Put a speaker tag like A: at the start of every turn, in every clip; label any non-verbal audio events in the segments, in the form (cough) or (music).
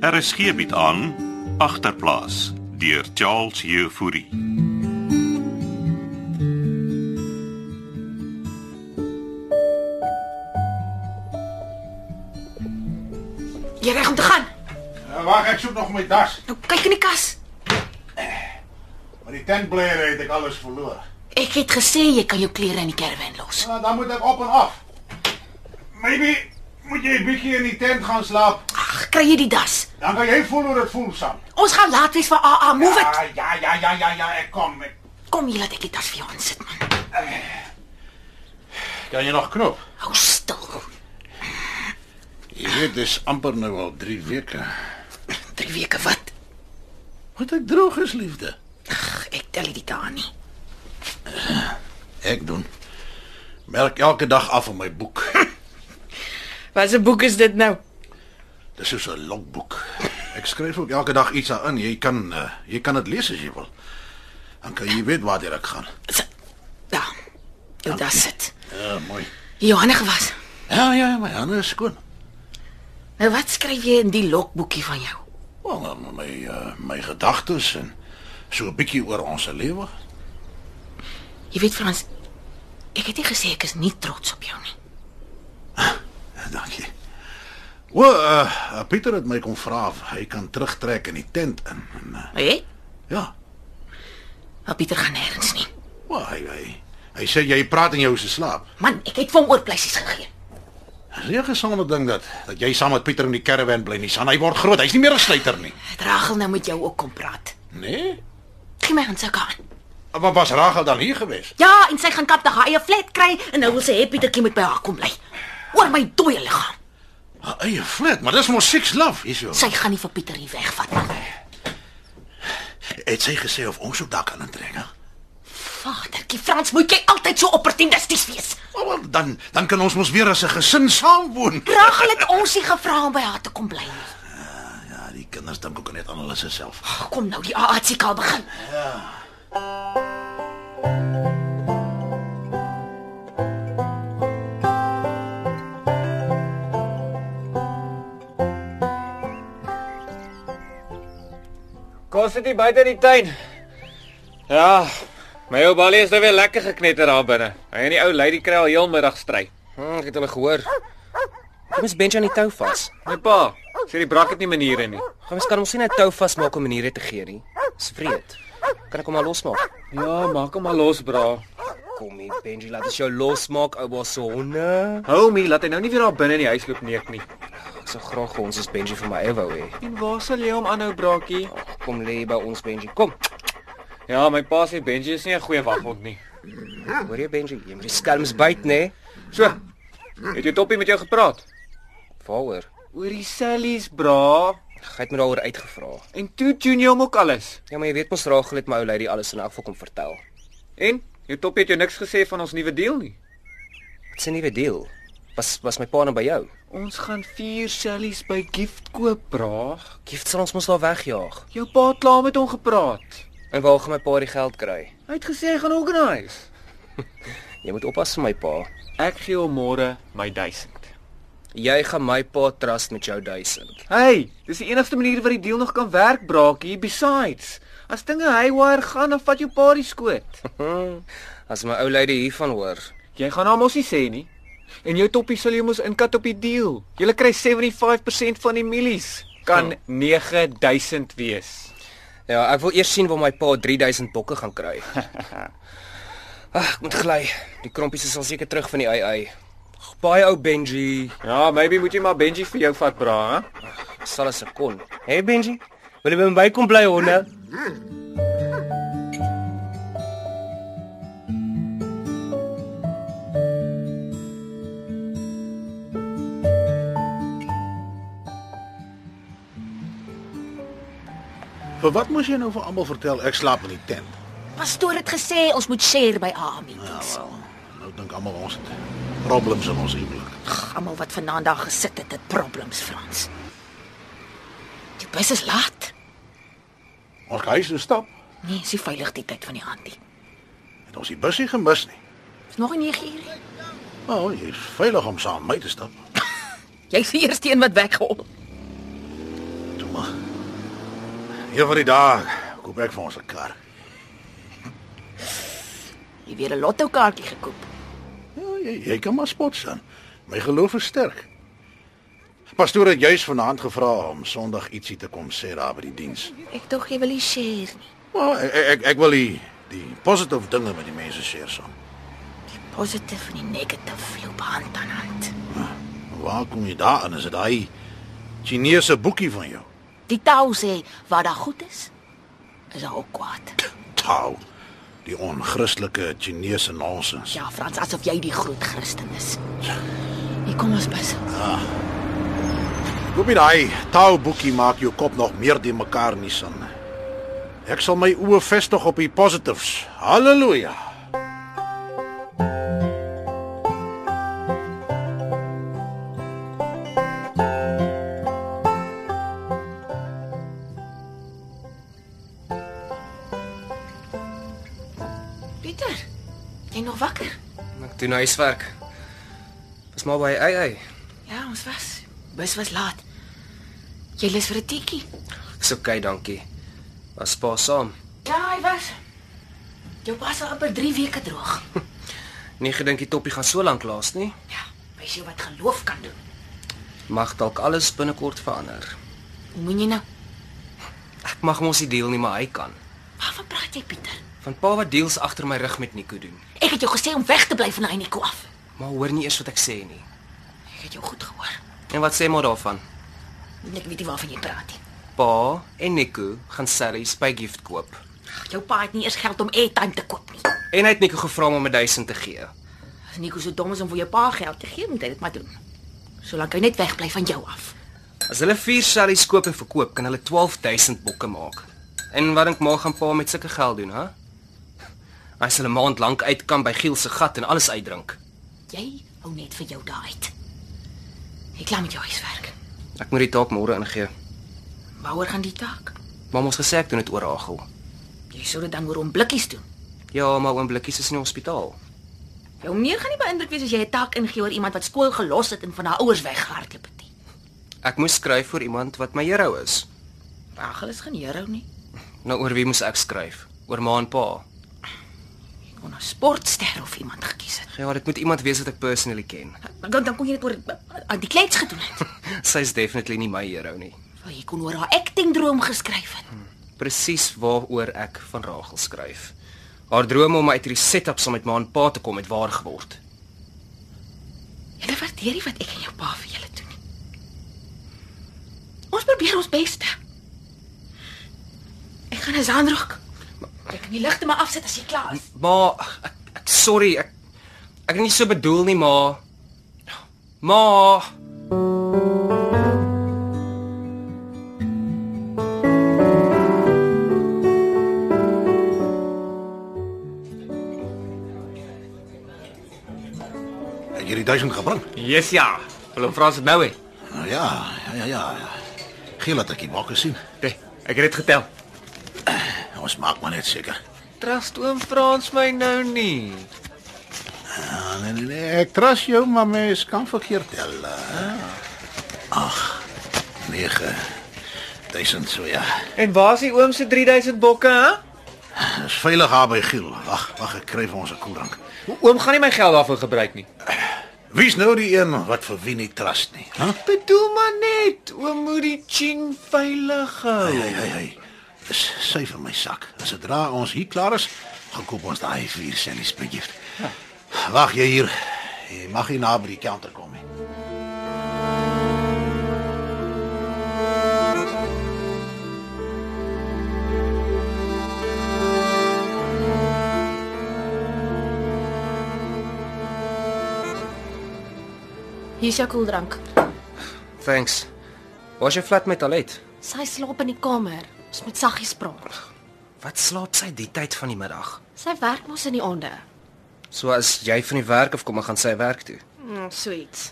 A: RSG bied Er aan agterplaas deur Charles Jefouri.
B: Jy reg om te gaan.
C: Nou, Wag, ek soek nog my das.
B: Nou kyk in die kas.
C: Maar die tentbleier het ek alles verloor.
B: Ek het gesê jy kan jou klere in die kerwe inlos.
C: Nou, dan moet ek op en af. Maybe moet jy 'n bietjie in die tent gaan slaap.
B: Ag, kry jy die das?
C: Dan kan jy voel hoe dit voel saam.
B: Ons gaan laat wees vir AA. Move it.
C: Ja, Ah, ja, ja, ja, ja, ja, ek kom. Ek...
B: Kom hier laat ek die tas vir jou insit man.
C: Kan jy nog knop?
B: Hou stil.
C: Jy weet dis amper nou al 3 weke.
B: 3 weke wat?
C: Wat ek droog is, liefde.
B: Ag, ek tel dit daar nie.
C: Ek doen. Merk elke dag af in my boek. (laughs)
B: Wat 'n boek is dit nou?
C: Dis soos 'n logboek. Ek skryf ook elke dag iets daarin. Jy kan uh, jy kan dit lees as jy wil. Dan kan jy weet waar ek gaan.
B: Daar. Ja, Jou das sit.
C: Ja, mooi.
B: Johanne gewas.
C: Ja, ja, my hande is skoon.
B: Nou wat skryf jy in die logboekie van jou?
C: Wel, nou, my uh, my gedagtes en so 'n bietjie oor ons lewe.
B: Jy weet Frans, ek het nie gesê ek is nie trots op jou nie.
C: Ja, Dankie. O, uh, Pieter het my kom vra of hy kan terugtrek in die tent in. En, uh,
B: Hé? Hey?
C: ja.
B: Maar Pieter gaan nêrens nie.
C: Wel, hy, hy hy sê jy praat in jou se slaap.
B: Man, ek het vir hom oorpleisies gegee.
C: Dis 'n gesonde ding dat dat jy saam met Pieter in die caravan bly nie. San hy word groot. Hy's nie meer 'n sluiter nie.
B: Het Rachel nou met jou ook kom praat?
C: Nee.
B: Gee my handsak aan.
C: Maar was Rachel dan hier gewees?
B: Ja, en sy gaan kap na haar eie flat kry en nou wil sy hê Pietertjie moet by haar kom bly. Oor my dooie liggaam.
C: Haar eie flat, maar dis mos six love, is jy?
B: Sy gaan nie vir Pieter hier wegvat nie.
C: Het sy gesê of ons ook daar kan intrek? hè?
B: Vadertjie Frans, moet jy altyd so opportunisties wees?
C: Oh, wel, dan dan kan ons mos weer as 'n gesin saam woon.
B: Rachel het ons nie gevra om by haar te kom bly nie.
C: Ja, die kinders dink ook net aan hulle self. (laughs)
B: Ag, Kom nou, die AATK begin.
D: Kom sit hier buite in die tuin. Ja, my ou balie is nou weer lekker geknetter daar binne. Hy en die ou lady kry al heelmiddag stry.
E: Hm, ek het hulle gehoor. Kom ons bench aan die tou vas.
D: My pa sê die brak het nie maniere nie.
E: Kom ons kan ons nie 'n tou vasmaak om maniere te gee nie. Dis vreed. Kan ek hom maar losmaak?
D: Ja, maak hom maar los, bra.
E: Kom hier, Benji, laat ons jou losmaak, ou baas se honde.
D: Homie, laat hy nou nie weer daar binne in die huis loop neek nie.
E: Ek sou graag gehou ons as Benji vir my eie wou hê.
D: En waar sal jy hom aanhou, braakie?
E: Kom lê by ons Benji. Kom.
D: Ja, my pa sê Benji is nie 'n goeie waghond nie.
E: Hoor jy Benji, jy moet die skelms byt, nê?
D: So, het jy toppie met jou gepraat?
E: Waaroor?
D: Oor die sellies, bra.
E: Jy het my daaroor uitgevra.
D: En toe tune jy hom ook alles.
E: Ja, maar jy weet mos Rachel het my ou lady alles in elk geval kom vertel.
D: En jou toppie het jou niks gesê van ons nuwe deal nie.
E: Dit is 'n nuwe deal. Was was my pa nou by jou?
D: Ons gaan 4 sellies by Gift koop, bra.
E: Gift sal ons mos daar wegjaag.
D: Jou pa het klaar met hom gepraat.
E: En waar gaan my pa die geld kry?
D: Hy het gesê hy gaan organise.
E: Jy moet oppas vir my pa.
D: Ek gee hom môre my 1000.
E: Jy gaan my pa trust met jou 1000.
D: Hey, dis die enigste manier wat die deal nog kan werk, braakie. Besides, as dinge haywire gaan, dan vat jou pa die skoot.
E: Hm, as my ou lady hiervan hoor.
D: (laughs) Jy gaan hom mos nie sê nie. En jou toppie sal jy mos inkat op die deal. Jy kry 75% van die mielies. Kan 9000 wees.
E: Ja, ek wil eers sien waar my pa 3000 bokke gaan kry. Ag, ek moet gly. Die krompies is al seker terug van die ei ei. Ag, Baie ou Benji.
D: Ja, maybe moet jy maar Benji vir jou vat, bra, hè?
E: Sal as ek kon. Hey Benji, wil jy by my kom bly honde?
C: Vir wat moes jy nou vir almal vertel ek slaap in die tent?
B: Pastoor het gesê ons moet share by AA meetings.
C: Nou dink almal ons het problems in ons huwelik.
B: Ag, Almal wat vanaand daar gesit het, het problems Frans. Die bus is laat.
C: Ons kan huis toe stap.
B: Nee, is nie veilig die tyd van die aand nie.
C: Het ons die busie gemis nie.
B: Dis nog 9 uur.
C: Nou, oh, jy's veilig om saam met my te stap.
B: Jy's die eerste een wat weghol.
C: Toe maar. Een van die dae koop ek vir ons 'n kar.
B: Jy weer 'n lotto kaartjie gekoop.
C: Ja, jy, jy kan maar spots aan. My geloof is sterk. Pastoor het juis vanaand gevra om Sondag ietsie te kom sê daar by die diens.
B: Ek dink jy wil nie share nie.
C: Maar ek ek, ek wil die die positiewe dinge met die mense deel saam.
B: Positief en die negatief loop hand aan hand.
C: Waar kom jy daarin? Is dit daai Chinese boekie van jou?
B: Die tau sê wat daar goed is, is daar ook kwaad.
C: Tau. Die onchristelike Chinese nonsens.
B: Ja, Frans, asof jy die groot Christen is. Hier kom ons by.
C: Koop nie daai tau boekie maak jou kop nog meer die mekaar nie sin. Ek sal my oë vestig op die positives. Halleluja.
B: Pieter, jy nog wakker?
E: Ek doen huiswerk. Was maar by ai ai.
B: Ja, ons was. Bus was laat. Jy lus vir 'n teetjie?
E: Ek's okay, dankie. Was pa saam.
B: Ja, hy was. Jou pas al amper 3 weke droog.
E: Nie gedink die toppie gaan so lank laas nie.
B: Ja, wys jy wat geloof kan doen.
E: Mag dalk alles binnekort verander.
B: Hoe moet jy nou?
E: Ek mag mos nie deel nie, maar hy kan.
B: Waarvan praat jy, Pieter?
E: Van pa wat deels agter my rug met Nico doen.
B: Ek het jou gesê om weg te bly van hy Nico af.
E: Maar hoor nie eers wat ek sê nie.
B: Ek het jou goed gehoor.
E: En wat sê maar daarvan?
B: Ek weet nie waarvan jy praat nie.
E: Pa en Nico gaan Sally spy gift koop.
B: Ag, Jou pa het nie eers geld om airtime te koop nie.
E: En hy het Nico gevra om hom 1000 te gee.
B: As Nico so dom is om vir jou pa geld te gee, moet hy dit maar doen. Solank hy net wegbly van jou af.
E: As hulle 4 Sally's koop en verkoop, kan hulle 12000 bokke maak. En wat dink ma gaan pa met sulke geld doen, hè? Hy sal 'n maand lank uit kan by Giel se gat en alles uitdrink.
B: Jy hou net vir jou daai uit. Ek klaar met jou huiswerk.
E: Ek moet die taak môre ingee.
B: Waaroor gaan die taak?
E: Mamma het gesê ek doen dit oor Ragel.
B: Jy sou dit dan oor hom blikkies doen.
E: Ja, maar oom Blikkies is in die hospitaal.
B: Jou meneer gaan nie beïndruk wees as jy 'n taak ingee oor iemand wat skool gelos het en van haar ouers weggehardloop het nie.
E: Ek moes skryf vir iemand wat my hero is.
B: Ragel is geen hero nie.
E: Nou oor wie moes ek skryf? Oor ma en pa.
B: Jy kon 'n sportster of iemand gekies het.
E: Ja, dit moet iemand wees wat ek personally ken.
B: Dan dan kon jy dit oor eh, aan die kleins gedoen het.
E: Sy's definitely nie my hero nie.
B: Of jy kon oor haar acting droom geskryf het.
E: Presies waaroor ek van Ragel skryf. Haar droom om uit hierdie setup saam met ma en pa te kom het waar geword.
B: Jy waardeer nie wat ek en jou pa vir julle doen nie. Ons probeer ons beste. Ek gaan 'n sandrok. Ek kan die ligte maar afsit as jy klaar is.
E: Ma, ek, ek sorry, ek ek het nie so bedoel nie, ma. Ma,
C: Het jy die 1000 gebring?
E: yes ja. Wil hom vra as dit nou hè.
C: Nou ja, ja ja ja. ja. Giel laat ek die bakke sien.
E: Ek het dit getel.
C: Ons maak maar net seker.
E: Trust oom Frans my nou nie.
C: Ah, nee nee nee, ek trust jou, maar mens kan verkeerd tel. hè. Ag. 9 1000 so ja.
D: En waar is die oom se 3000 bokke, hè?
C: Dis veilig daar by Giel. Wag, wag, ek kry vir ons 'n koeldrank.
D: Oom gaan nie my geld daarvoor gebruik nie.
C: Wie's nou die een wat vir wie nie trust nie? Hæ?
D: Bedoel maar net, oom moet die chin veilig hou.
C: Hey, hey, hey. Dis sy vir my sak. As sodra ons hier klaar is, gaan koop ons daai vier sellies bietjie. Wag jy hier. Jy mag nie naby die counter kom nie.
B: Hier is jou koeldrank.
E: Thanks. Waar's jou flat met Alet?
B: Sy slaap in die kamer. Ons moet saggies praat.
E: Wat slaap sy die tyd van die middag?
B: Sy werk mos in die aande.
E: So as jy van die werk af kom, dan gaan sy werk toe.
B: Mm, sweet.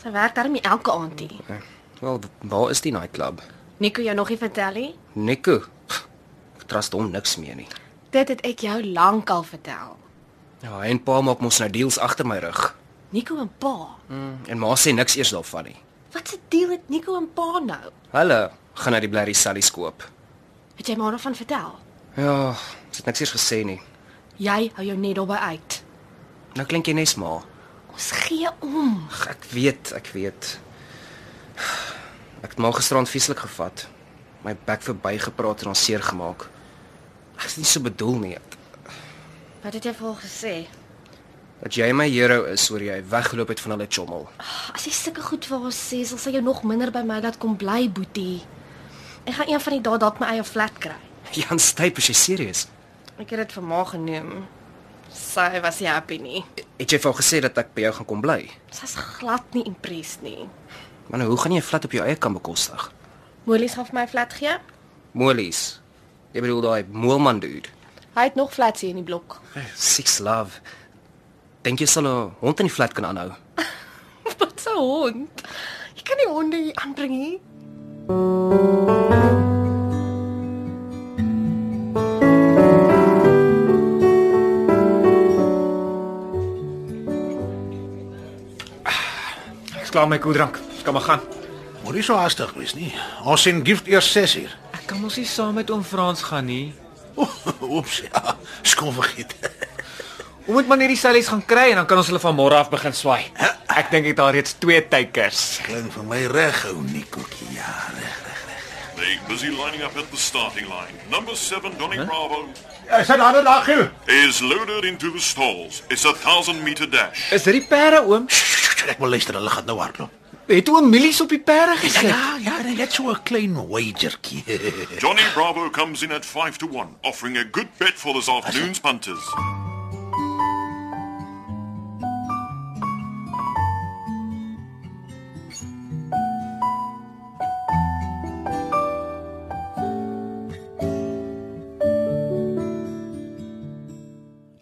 B: Sy werk daarmee elke aand hier.
E: Wel, waar is die nightclub?
F: Nico jou nog nie vertel nie.
E: Nico. Ek trust hom niks meer nie.
F: Dit het ek jou lankal vertel.
E: Ja, en pa maak mos nou deals agter my rug.
F: Nico en pa.
E: Mm. En ma sê niks eers daarvan nie.
F: Wat se deal het Nico en pa nou?
E: Hulle gaan hy die blerrie sallies koop.
B: Het jy maar daarvan vertel?
E: Ja, sy het niks eers gesê nie.
B: Jy hou jou net daarby uit.
E: Nou klink jy nes maar.
B: Ons gee om.
E: Ag, Ek weet, ek weet. Ek het maar gisterand vieslik gevat. My bek verbygepraat en ons seer gemaak. Ek het nie so bedoel nie.
B: Wat het jy vir haar gesê?
E: Dat jy my hero is oor jy weggeloop het van hulle chommel.
B: As jy sulke goed vir haar sê, sal sy jou nog minder by my laat kom bly, boetie. Ek gaan een van die dae dalk my eie flat kry.
E: Jan Styp, is jy serieus?
B: Ek het dit vir ma geneem. Sy was nie happy nie.
E: Het jy vir haar gesê dat ek by jou gaan kom bly?
B: Sy's glad nie impressed nie.
E: Maar nou, hoe gaan jy 'n flat op jou eie kan bekostig?
B: Molies gaan vir my 'n flat gee.
E: Molies. Jy bedoel daai moelman dude.
B: Hy het nog flats hier in die blok.
E: Six love. Dink jy sal 'n hond in die flat kan aanhou?
B: (laughs) Wat 'n hond. Jy kan nie honde hier aanbring nie.
D: Ek's klaar met my koeldrank. Ek kan maar gaan.
C: Moenie so haastig wees nie. Ons sien gift eers 6uur.
D: Ek kan mos nie saam met oom Frans gaan nie.
C: (laughs) Oeps, ja, skoon vergeet.
D: Ons moet maar net die sellies gaan kry en dan kan ons hulle van môre af begin swaai. Ek dink ek het al reeds twee tykers.
C: Klink vir my reg, ou Nikkokie. Ja, reg.
A: Make busy lining up at the starting line. Number 7 Donny Bravo
C: Is dit ander dag hier?
A: is loaded into the stalls. It's a 1000 meter dash.
D: Is dit die perde oom?
C: Ek wil luister, hulle gaan nou hardloop.
D: Het oom Milies op die perde
C: Ja,
D: gesit?
C: ja, ja, net so 'n klein wagertjie.
A: Johnny Bravo comes in at 5 to 1, offering a good bet for this afternoon's punters.